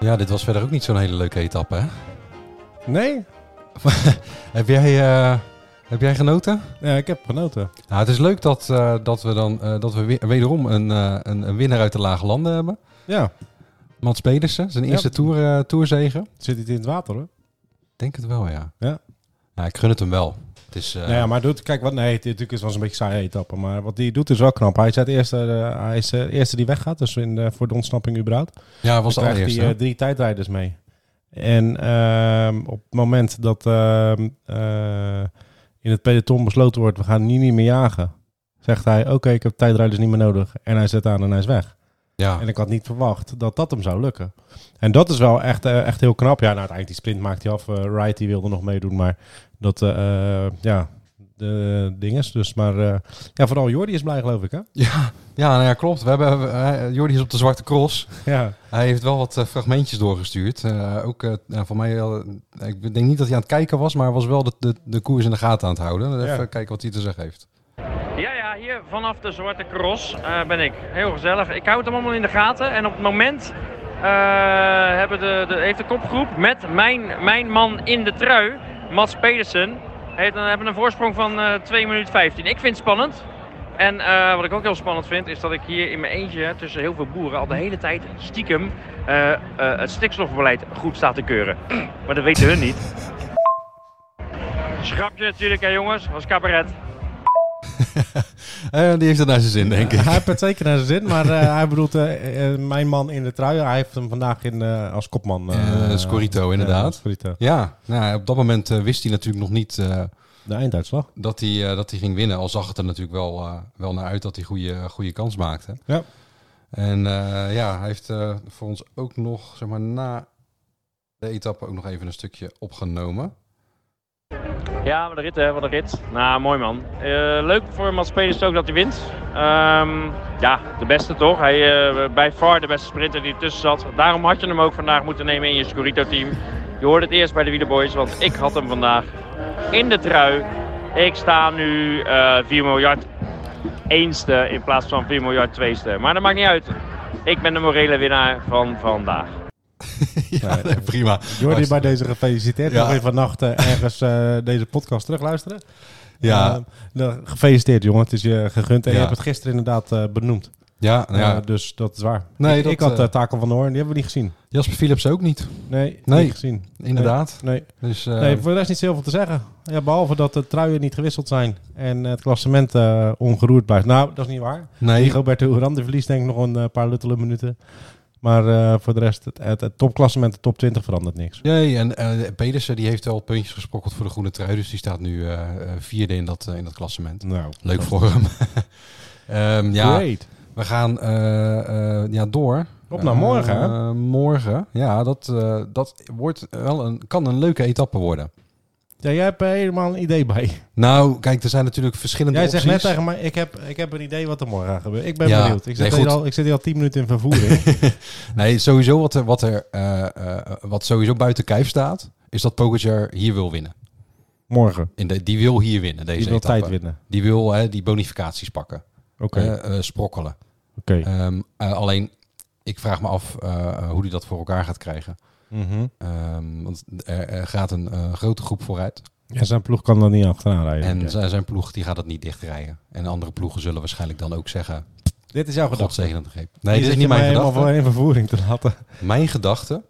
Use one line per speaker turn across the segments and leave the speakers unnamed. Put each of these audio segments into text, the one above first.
Ja, dit was verder ook niet zo'n hele leuke etappe, hè?
Nee?
Heb jij, eh, heb jij genoten?
Ja, ik heb genoten.
Nou, het is leuk dat, eh, dat we dan eh, dat we weer- wederom een, eh, een, een winnaar uit de lage landen hebben.
Ja.
Mats Pedersen, zijn
Ja.
eerste toer, eh, toerzegen.
Zit hij in het water, hoor?
Denk het wel, ja.
Ja.
Ja, ik gun het hem wel. Het is, eh,
Nou ja, maar doet, kijk, wat, nee, het, natuurlijk is wel een beetje saaie etappe. Maar wat hij doet is wel knap. Hij is de eerste, eh, hij is, eh, de eerste die weggaat, dus in, eh, voor de ontsnapping überhaupt.
ja, was de
Dan krijgt
allereerste.
hij
hè?
eh, drie tijdrijders mee. En ehm, op het moment dat ehm, eh, in het peloton besloten wordt, we gaan nu niet meer jagen, zegt hij, oké, ik heb tijdrijders niet meer nodig. En hij zet aan en hij is weg.
ja.
En ik had niet verwacht dat dat hem zou lukken. En dat is wel echt, eh, echt heel knap. Ja, nou, uiteindelijk die sprint maakt hij af. eh Wright die wilde nog meedoen, maar dat, eh, eh, ja, de dinges. Dus, maar eh, ja, vooral Jordi is blij, geloof ik, hè?
Ja, ja, nou ja, klopt. We hebben, eh, Jordi is op de Zwarte Cross.
Ja,
Hij heeft wel wat eh, fragmentjes doorgestuurd. Eh, ook eh, nou, voor mij, wel, eh, ik denk niet dat hij aan het kijken was, maar hij was wel de, de, de koers in de gaten aan het houden. Even
Ja.
kijken wat hij te zeggen heeft.
Ja, ja, hier vanaf de Zwarte Cross eh, ben ik. Heel gezellig. Ik houd hem allemaal in de gaten. En op het moment eh, hebben de, de, heeft de kopgroep met mijn, mijn man in de trui, Mats Pedersen, heeft een, hebben een voorsprong van eh 2 minuten 15. Ik vind het spannend. En eh, wat ik ook heel spannend vind, is dat ik hier in mijn eentje tussen heel veel boeren al de hele tijd stiekem eh, eh, het stikstofbeleid goed sta te keuren. Maar dat weten hun niet. Schrapje natuurlijk, hè jongens, was cabaret.
Eh, die heeft het naar zijn zin, denk ik.
hij heeft het zeker naar zijn zin, maar eh, hij bedoelt eh, eh, mijn man in de trui. Hij heeft hem vandaag in, eh, als kopman.
Eh, Scorito, inderdaad.
ja, Scorito.
Ja, nou, op dat moment eh, wist hij natuurlijk nog niet eh,
De einduitslag.
dat, hij, eh, dat hij ging winnen. Al zag het er natuurlijk wel, eh, wel naar uit dat hij goede, goede kans maakte.
Ja.
En eh, ja, hij heeft eh, voor ons ook nog, zeg maar, na de etappe ook nog even een stukje opgenomen.
Ja, wat een rit hè, wat een rit. Nou, mooi man. Eh, leuk voor Mats Pedersen ook dat hij wint. Ehm, ja, de beste toch? Hij eh bij far de beste sprinter die ertussen zat. Daarom had je hem ook vandaag moeten nemen in je Scorito-team. Je hoorde het eerst bij de Wielerboys, want ik had hem vandaag in de trui. Ik sta nu eh 4 miljard eenste in plaats van 4 miljard tweeste. Maar dat maakt niet uit. Ik ben de morele winnaar van vandaag.
ja, nee, prima.
Jordi, bij deze gefeliciteerd.
Ja.
Nog even vannacht eh, ergens eh, deze podcast terugluisteren.
Ja,
Eh, nou, gefeliciteerd, jongen. Het is je gegund. En
Ja.
je hebt het gisteren inderdaad eh, benoemd.
ja, nou ja,
Eh, dus dat is waar.
Nee,
ik,
dat,
ik had
eh,
eh, Taco van der Hoorn. Die hebben we niet gezien.
Jasper Philips ook niet,
Nee,
Nee.
niet gezien.
inderdaad.
Nee.
Dus eh,
nee, voor de rest niet zoveel te zeggen. Ja, behalve dat de truien niet gewisseld zijn. En het klassement eh, ongeroerd blijft. Nou, dat is niet waar.
nee,
Die Roberto Urán die verliest denk ik nog een eh, paar luttele minuten. Maar eh, voor de rest, het, het, het topklassement, de top 20 verandert niks.
Nee, en eh, Pedersen die heeft wel puntjes gesprokkeld voor de groene trui. Dus die staat nu eh, eh, vierde in dat, eh, in dat klassement.
Nou,
Leuk voor hem. Ehm, ja,
great.
we gaan eh, eh, ja, door.
Op naar morgen, hè?
Eh, morgen, ja, dat, eh, dat wordt wel een, kan een leuke etappe worden.
Ja, jij hebt er helemaal een idee bij.
Nou, kijk, er zijn natuurlijk verschillende
Jij zegt net
opties.
tegen mij, ik heb, ik heb een idee wat er morgen gaat gebeuren. Ik ben
Ja,
benieuwd. Ik
nee,
zit,
goed.
hier al, ik zit hier al 10 minuten in vervoering.
Nee, sowieso wat er, wat er eh, eh, wat sowieso buiten kijf staat, is dat Pogacar hier wil winnen.
morgen.
In de, die wil hier winnen, deze
Die wil
etappe.
tijd winnen.
Die wil hè, die bonificaties pakken,
Oké.
Eh, eh, sprokkelen.
Oké.
Ehm, eh, alleen, ik vraag me af eh, hoe hij dat voor elkaar gaat krijgen.
Mhm.
Ehm, want er, er gaat een eh, grote groep vooruit.
Ja, zijn ploeg kan dan niet achteraan rijden.
En
Oké.
zijn, zijn ploeg die gaat het niet dichtrijden. En andere ploegen zullen waarschijnlijk dan ook zeggen...
dit is jouw
God
gedachte.
zegen het greep. Nee, dit
Je
is
zit
niet
je mij
mijn
helemaal
gedachte.
voor in vervoering te laten.
Mijn gedachte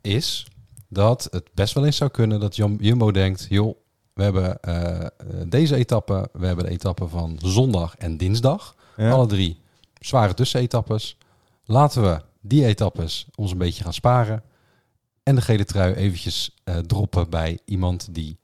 is dat het best wel eens zou kunnen dat Jum- Jumbo denkt... joh, we hebben eh, eh, deze etappe, we hebben de etappe van zondag en dinsdag.
Ja.
Alle drie zware tussenetappes. Laten we die etappes ons een beetje gaan sparen. En de gele trui eventjes eh, droppen bij iemand die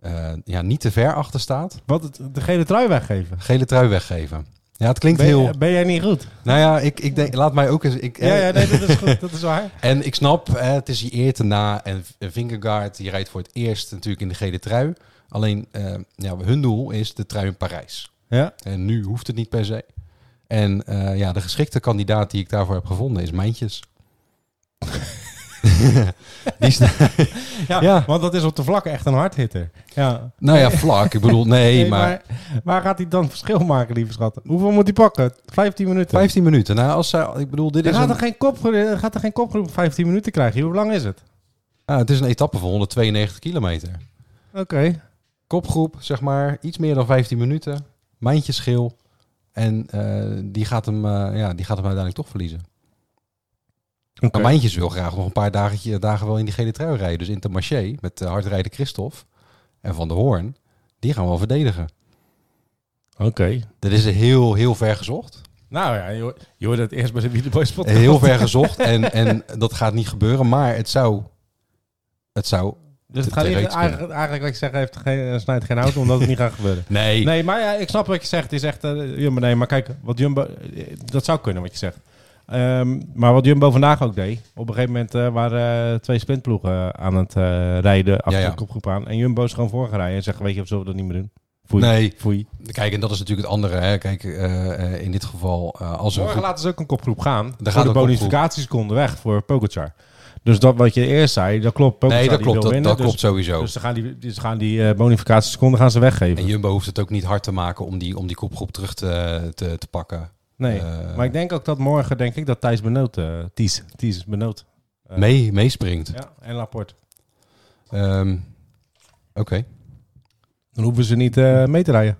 eh, ja, niet te ver achter staat,
Wat, het- de gele trui weggeven.
gele trui weggeven. Ja, het klinkt
Ben,
heel...
ben jij niet goed?
Nou ja, ik, ik denk, laat mij ook eens... Ik,
Ja, ja, nee, dat is goed. Dat is waar.
En ik snap, eh, het is je eer te na. En Vingegaard, die rijdt voor het eerst natuurlijk in de gele trui. Alleen, eh, ja, hun doel is de trui in Parijs.
Ja.
En nu hoeft het niet per se. En eh, ja, de geschikte kandidaat die ik daarvoor heb gevonden is Mijntjes. die sta-
Ja,
Ja.
want dat is op de vlak echt een hardhitter. Ja.
nou ja, vlak. Ik bedoel, nee,
Nee,
maar...
maar waar gaat hij dan verschil maken, lieve schatten? Hoeveel moet hij pakken? 15 minuten.
15 minuten. Nou, als zij, ik bedoel, dit
Er
is
gaat,
een,
er geen kopgroep, gaat er geen kopgroep van 15 minuten krijgen? Hoe lang is het?
ah, het is een etappe van 192 kilometer.
Oké.
kopgroep, zeg maar, iets meer dan 15 minuten. Mijntje schil. En eh, die, gaat hem, eh, ja, die gaat hem uiteindelijk toch verliezen.
Oké.
Maar Mijntjes wil graag nog een paar dagetje, dagen wel in die gele trui rijden. Dus Intermarché met eh, hardrijden Christophe en Van der Hoorn, die gaan we wel verdedigen. Dat is heel, heel ver gezocht.
Nou ja, je, hoort- je hoorde het eerst bij de Wieleboys podcast.
Heel ver gezocht. En, en dat gaat niet gebeuren. Maar het zou... Het zou...
Dus het
te-
gaat
te
niet,
reeks
eigenlijk, eigenlijk wat ik zeg, heeft geen, eh, snijdt geen hout, omdat het niet gaat gebeuren.
Nee.
Nee, maar ja, ik snap wat je zegt. Het is echt, eh, Jumbo, nee, maar kijk, wat Jumbo, eh, dat zou kunnen wat je zegt. Ehm, maar wat Jumbo vandaag ook deed, op een gegeven moment eh, waren eh, twee sprintploegen aan het eh, rijden achter
Ja, ja.
de kopgroep aan. En Jumbo is gewoon voorgereden en zegt, weet je, zullen we dat niet meer doen? Foei.
Nee.
Foei.
Kijk, en dat is natuurlijk het andere. Hè. Kijk, eh, eh, in dit geval... eh, als een
Morgen
groep-
laten ze ook een kopgroep gaan. Daar
gaat
gaan de
een kopgroep.
bonificatieseconden weg voor Pogacar. Dus dat wat je eerst zei, dat klopt. Pogacar
Nee, dat
die
klopt.
wil
Dat,
winnen,
dat
dus,
klopt sowieso.
Dus ze gaan die, dus ze gaan die eh, bonificatieseconden gaan ze weggeven.
En Jumbo hoeft het ook niet hard te maken om die, om die kopgroep terug te, te, te pakken.
nee.
Eh,
Maar ik denk ook dat morgen, denk ik, dat Thijs Benoot, eh Ties, Ties Benoot. eh,
mee, meespringt.
Ja, en Laporte.
Ehm, Oké.
Dan hoeven ze niet eh, mee te rijden.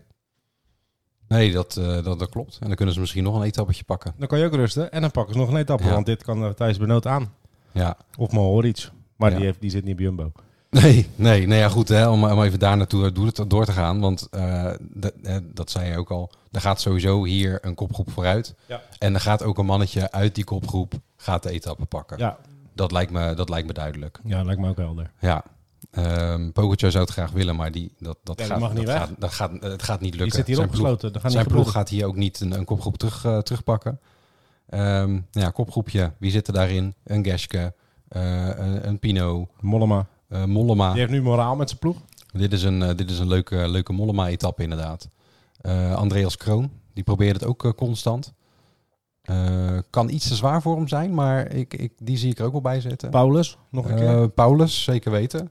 Nee, dat, eh, dat, dat klopt. En dan kunnen ze misschien nog een etappetje pakken.
Dan kan je ook rusten en dan pakken ze nog een etappe,
Ja.
want dit kan eh, Thijs Benoot aan.
Ja.
Of Mohoric. Maar
Ja.
die, heeft, die zit niet bij Jumbo.
Nee, nee, nee ja, goed. Hè, om, om even daar naartoe eh, door te- door te gaan. Want eh, dat- eh, dat zei je ook al. Er gaat sowieso hier een kopgroep vooruit.
Ja.
En er gaat ook een mannetje uit die kopgroep gaat de etappe pakken.
Ja,
Dat, lijkt me, dat lijkt me duidelijk.
ja lijkt me ook helder.
Ja. Ehm Pogacar zou het graag willen, maar die, dat, dat,
Ja, die
gaat,
mag niet
dat,
weg.
gaat, dat gaat Het gaat niet lukken.
Die zit hier
Zijn ploeg-
opgesloten. Dan gaan
Zijn
die
ploeg gaat hier ook niet een, een kopgroep terug, eh, terugpakken. Ehm, nou ja, kopgroepje. Wie zit er daarin? Een Geske, eh, een, een Pino,
Mollema.
eh, Mollema.
Die heeft nu moraal met zijn ploeg.
Dit is een, eh, dit is een leuke, leuke Mollema-etappe inderdaad. Eh, Andreas Kroon, die probeert het ook eh, constant. Eh, kan iets te zwaar voor hem zijn, maar ik, ik, die zie ik er ook wel bij zitten.
Paulus, nog een keer.
Eh, Paulus, zeker weten.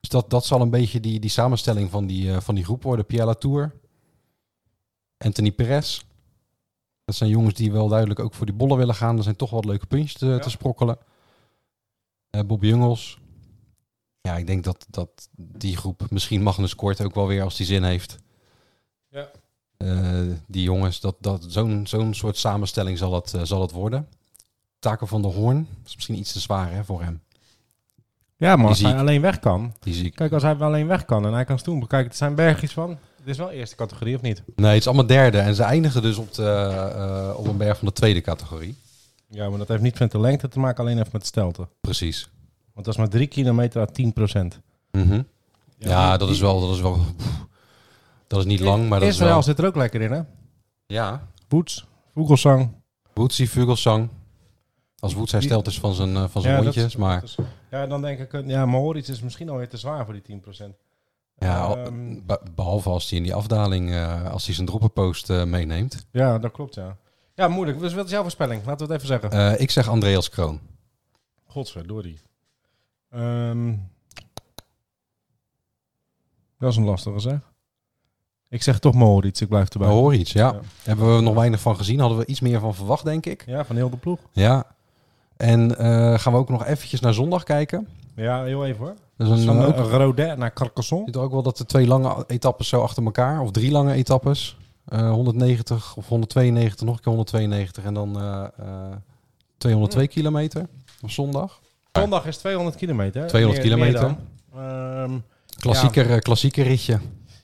Dus dat, dat zal een beetje die, die samenstelling van die, eh, van die groep worden. Pierre Latour, Anthony Perez. Dat zijn jongens die wel duidelijk ook voor die bollen willen gaan. Er zijn toch wat leuke puntjes te, te sprokkelen. Eh Bob Jungels. Ja, ik denk dat, dat die groep, misschien Magnus Kort ook wel weer als die zin heeft.
Ja.
Eh, die jongens, dat, dat, zo'n zo'n soort samenstelling zal het, eh, zal het worden. Taken van de Hoorn is misschien iets te zwaar hè, voor hem.
Ja, maar
Die
als
zie
hij
ik.
alleen weg kan.
Die zie ik.
Kijk, als hij wel alleen weg kan en hij kan stoem. Kijk, er zijn bergjes van. Dit is wel eerste categorie, of niet?
Nee, het is allemaal derde. En ze eindigen dus op, de, eh, op een berg van de tweede categorie.
Ja, maar dat heeft niet met de lengte te maken, alleen even met stelte.
Precies.
Want dat is maar drie kilometer à 10 procent.
Mhm. Ja, dat is wel... Dat is, wel pff, dat is niet
Eh,
lang, maar dat is
Israël
wel...
zit er ook lekker in, hè?
Ja.
Woods, Vogelsang.
Wootsie Vugelsang. Als Woods hersteld is van zijn, eh, van zijn
Ja, dat-
mondjes. maar
dat is- Ja, dan denk ik, eh, ja, Mohoric is misschien alweer te zwaar voor die 10 procent.
ja, al-
Ehm.
be- behalve als hij in die afdaling... eh, als hij zijn droppenpost eh, meeneemt.
Ja, dat klopt, ja. Ja, moeilijk. Dus wat is jouw voorspelling? Laten we het even zeggen.
Eh, ik zeg Andreas Kroon.
Godverdorie. Ehm dat is een lastige, zeg. Ik zeg toch Mohoric, ik blijf
We
erbij.
horen iets, ja.
Ja.
Hebben we nog weinig van gezien. Hadden we iets meer van verwacht, denk ik.
Ja, van heel de ploeg.
Ja. En eh, gaan we ook nog eventjes naar zondag kijken.
Ja, heel even hoor.
Dat is een,
Van
eh, ook-
eh, Rodet naar Carcassonne.
Zit er ook wel dat de twee lange etappes zo achter elkaar, of drie lange etappes, eh, 190 of 192, nog een keer 192 en dan eh, eh, 202 kilometer op zondag.
Zondag is 200 kilometer. hè?
200
Meer- meer
kilometer.
dan. Ehm,
Klassieker, eh, klassieker ritje.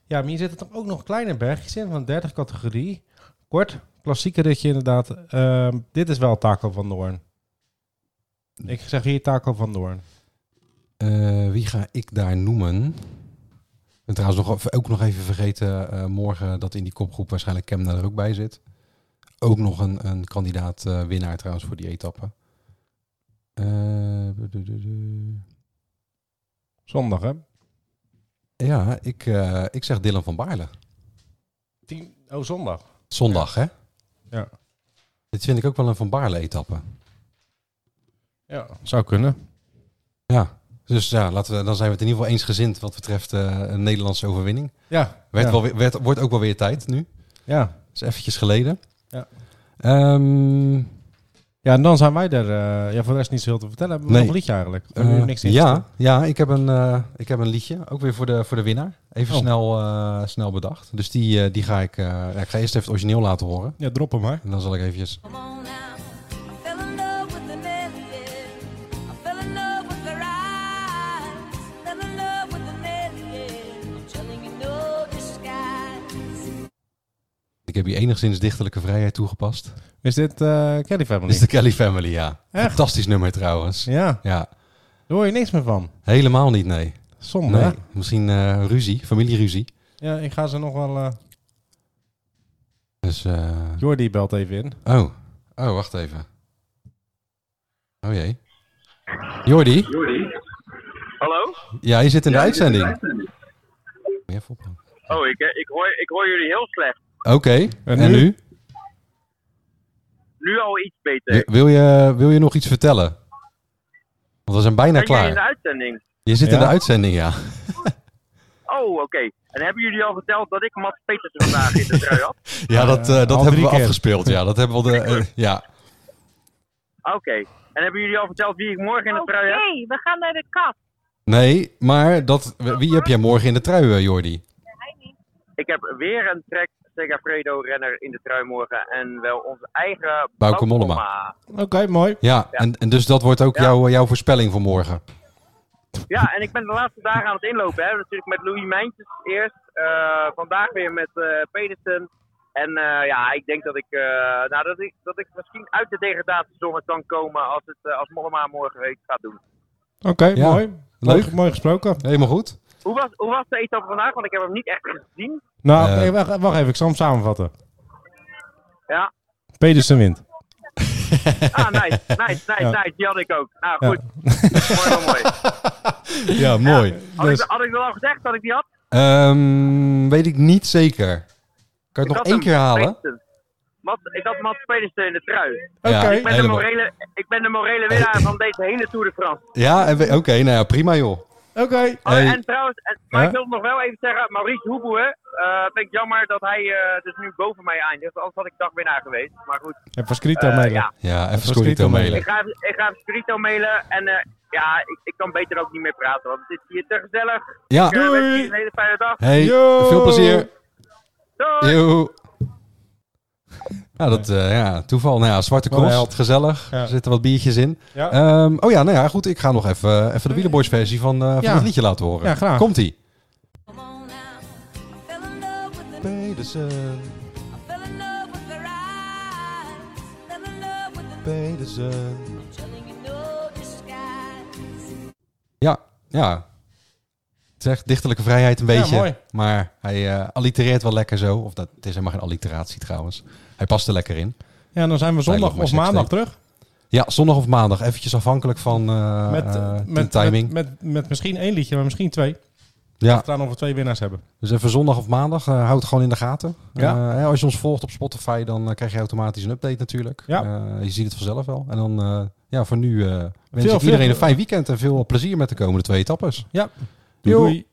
ja, maar hier zitten toch ook nog kleine bergjes in van 30 categorie. Kort, klassieke ritje inderdaad. Ehm, dit is wel Taco van Doorn. Ik zeg hier Taco van Doorn.
Eh, wie ga ik daar noemen? En trouwens nog, ook nog even vergeten eh, morgen dat in die kopgroep waarschijnlijk Kemna er ook bij zit. Ook nog een, een kandidaat eh, winnaar trouwens voor die etappe. Eh, du- du- du- du.
Zondag, hè?
ja, ik, eh, ik zeg Dylan van Baarle.
Tien, oh, zondag.
Zondag, hè?
Ja.
Dit vind ik ook wel een Van Baarle-etappe.
Ja, zou kunnen.
Ja. Dus ja, laten we, dan zijn we het in ieder geval eensgezind wat betreft eh, een Nederlandse overwinning.
Ja.
Werd
ja.
wel weer, werd, wordt ook wel weer tijd nu.
Ja.
Dat is eventjes geleden.
Ja.
Ehm,
ja, en dan zijn wij er. eh, ja, voor de rest niet zoveel te vertellen. Hebben we
Nee.
nog een liedje eigenlijk? We hebben nu
eh,
niks in te
ja,
stellen.
ja ik, heb een, eh, ik heb een liedje. Ook weer voor de, voor de winnaar. Even
Oh.
snel, eh, snel bedacht. Dus die, eh, die ga ik, eh, ja, ik ga eerst even het origineel laten horen.
Ja, drop hem maar.
En dan zal ik eventjes...
Come on now. I fell in love with an alien. I fell in love with their eyes. Fell in love with an alien. I'm telling you, no disguise.
Ik heb hier enigszins dichterlijke vrijheid toegepast.
Is dit eh Kelly
Dit
Family?
is de Kelly Family, ja.
Echt?
Fantastisch nummer trouwens.
Ja,
Ja,
daar hoor je niks meer van.
helemaal niet, nee.
Zonde,
Nee,
Oh, hè?
misschien eh, ruzie, familieruzie.
Ja, ik ga ze nog wel... eh,
Dus, eh,
Jordi belt even in.
oh. oh, wacht even. Oh jee. Jordi,
Hallo?
ja, je zit in de uitzending. Moet je even ophangen.
Oh, ik, ik, hoor, ik hoor jullie heel slecht.
Oké, en,
nu?
nu?
Nu al iets beter.
Wil- Wil je, wil je nog iets vertellen? Want we zijn bijna
ben jij in de
klaar.
uitzending?
Je zit in de
Ja?
uitzending, ja.
Oh, oké. En hebben jullie al verteld dat ik Mats Petersen vandaag in de trui had?
Ja, dat, eh, dat
al
hebben
drie
we
keer.
afgespeeld. Ja, dat hebben we al de, eh, ja.
Oké. En hebben jullie al verteld wie ik morgen in de
Oké,
trui heb?
we gaan naar de kat.
Nee, maar dat, wie heb jij morgen in de trui, eh, Jordi?
Ik heb weer een trek Segafredo-renner in de trui morgen. En wel onze eigen
Bauke Mollema.
Oké, mooi.
Ja, En, en dus dat wordt ook
Ja.
jouw, jouw voorspelling voor morgen.
Ja, en ik ben de laatste dagen aan het inlopen. Hè. Natuurlijk met Louis Mijntjes eerst. eh, vandaag weer met eh Pedersen. En eh, ja, ik denk dat ik, eh, nou, dat ik, dat ik misschien uit de degradatiezone kan komen als, het, eh, als Mollema morgen weer iets gaat doen.
Oké,
Ja.
mooi.
Leuk.
Leuk. Mooi gesproken.
Helemaal goed.
Hoe was, hoe was de etappe vandaag? Want ik heb hem niet echt gezien.
Nou,
Eh.
nee, wacht, wacht even. Ik zal hem samenvatten.
Ja.
Pedersen wint.
Ah, nice, nice, nice, nice. Die had ik ook. Nou, goed. Mooi, mooi, mooi.
Ja, mooi.
Had,
Dus-
ik, had ik dat al gezegd dat ik die had?
Ehm, weet ik niet zeker. Kan je het
Ik
nog
had
één
hem,
keer halen?
Pedersen. Mats- ik had Mats Pedersen in de trui.
Oké.
Ja.
Ik ben, de
Helemaal.
morele, ik ben de morele winnaar van deze hele Tour de France.
Ja, en we- oké, nou ja, prima joh.
Oké.
Oh,
Hey.
En trouwens, en- maar
Ja?
ik wil nog wel even zeggen, Maurice Hoeboe, eh vind ik jammer dat hij eh, dus nu boven mij eindigt. Anders had ik dagwinnaar geweest. Maar goed,
En Vascrito
eh,
mailen.
ja.
Ja, even
was
Scorito
niet om-
mailen.
ik ga, even- ik ga even Spirito mailen en eh, ja, ik, ik kan beter ook niet meer praten, want het is hier te gezellig.
Ja.
Ik eh, wens
Doei.
jullie een hele fijne dag.
Hey,
Yo.
veel plezier.
Doei!
Yo. Nou, dat, eh, ja, toeval. Nou ja, zwarte
Wat een
kost,
held.
gezellig.
Ja.
Er zitten wat biertjes in.
Ja.
Ehm, oh ja, nou ja, goed. Ik ga nog even, even de Wielerboys versie van, eh, van
Ja.
het liedje laten horen.
Ja, graag.
Komt-ie.
Come on now. I fell in love with an
Pedersen,
I fell in love with their eyes. Fell in love with an
Pedersen.
I'm telling you, no disguise.
Ja, ja. Het zegt dichterlijke vrijheid een
Ja,
beetje.
mooi.
Maar hij eh allitereert wel lekker zo. Of dat, het is helemaal geen alliteratie trouwens. Hij past er lekker in.
Ja, dan zijn we zondag
Eigenlijk
of
maar
maandag
sextape.
terug.
Ja, zondag of maandag. Eventjes afhankelijk van eh,
Met,
eh,
eh,
de
met,
timing. Ah.
Met, met, met misschien één liedje, maar misschien twee.
ja,
Staan of we twee winnaars hebben.
dus even zondag of maandag. eh, houd het gewoon in de gaten.
Ja.
Eh, hè, als je ons volgt op Spotify, dan eh, krijg je automatisch een update natuurlijk.
Ja.
Eh, je ziet het vanzelf wel. En dan, eh, ja, voor nu eh wens
Veel-
ik iedereen
veel-
een fijn weekend en veel plezier met de komende twee etappes.
Ja.
Yo.
Doei.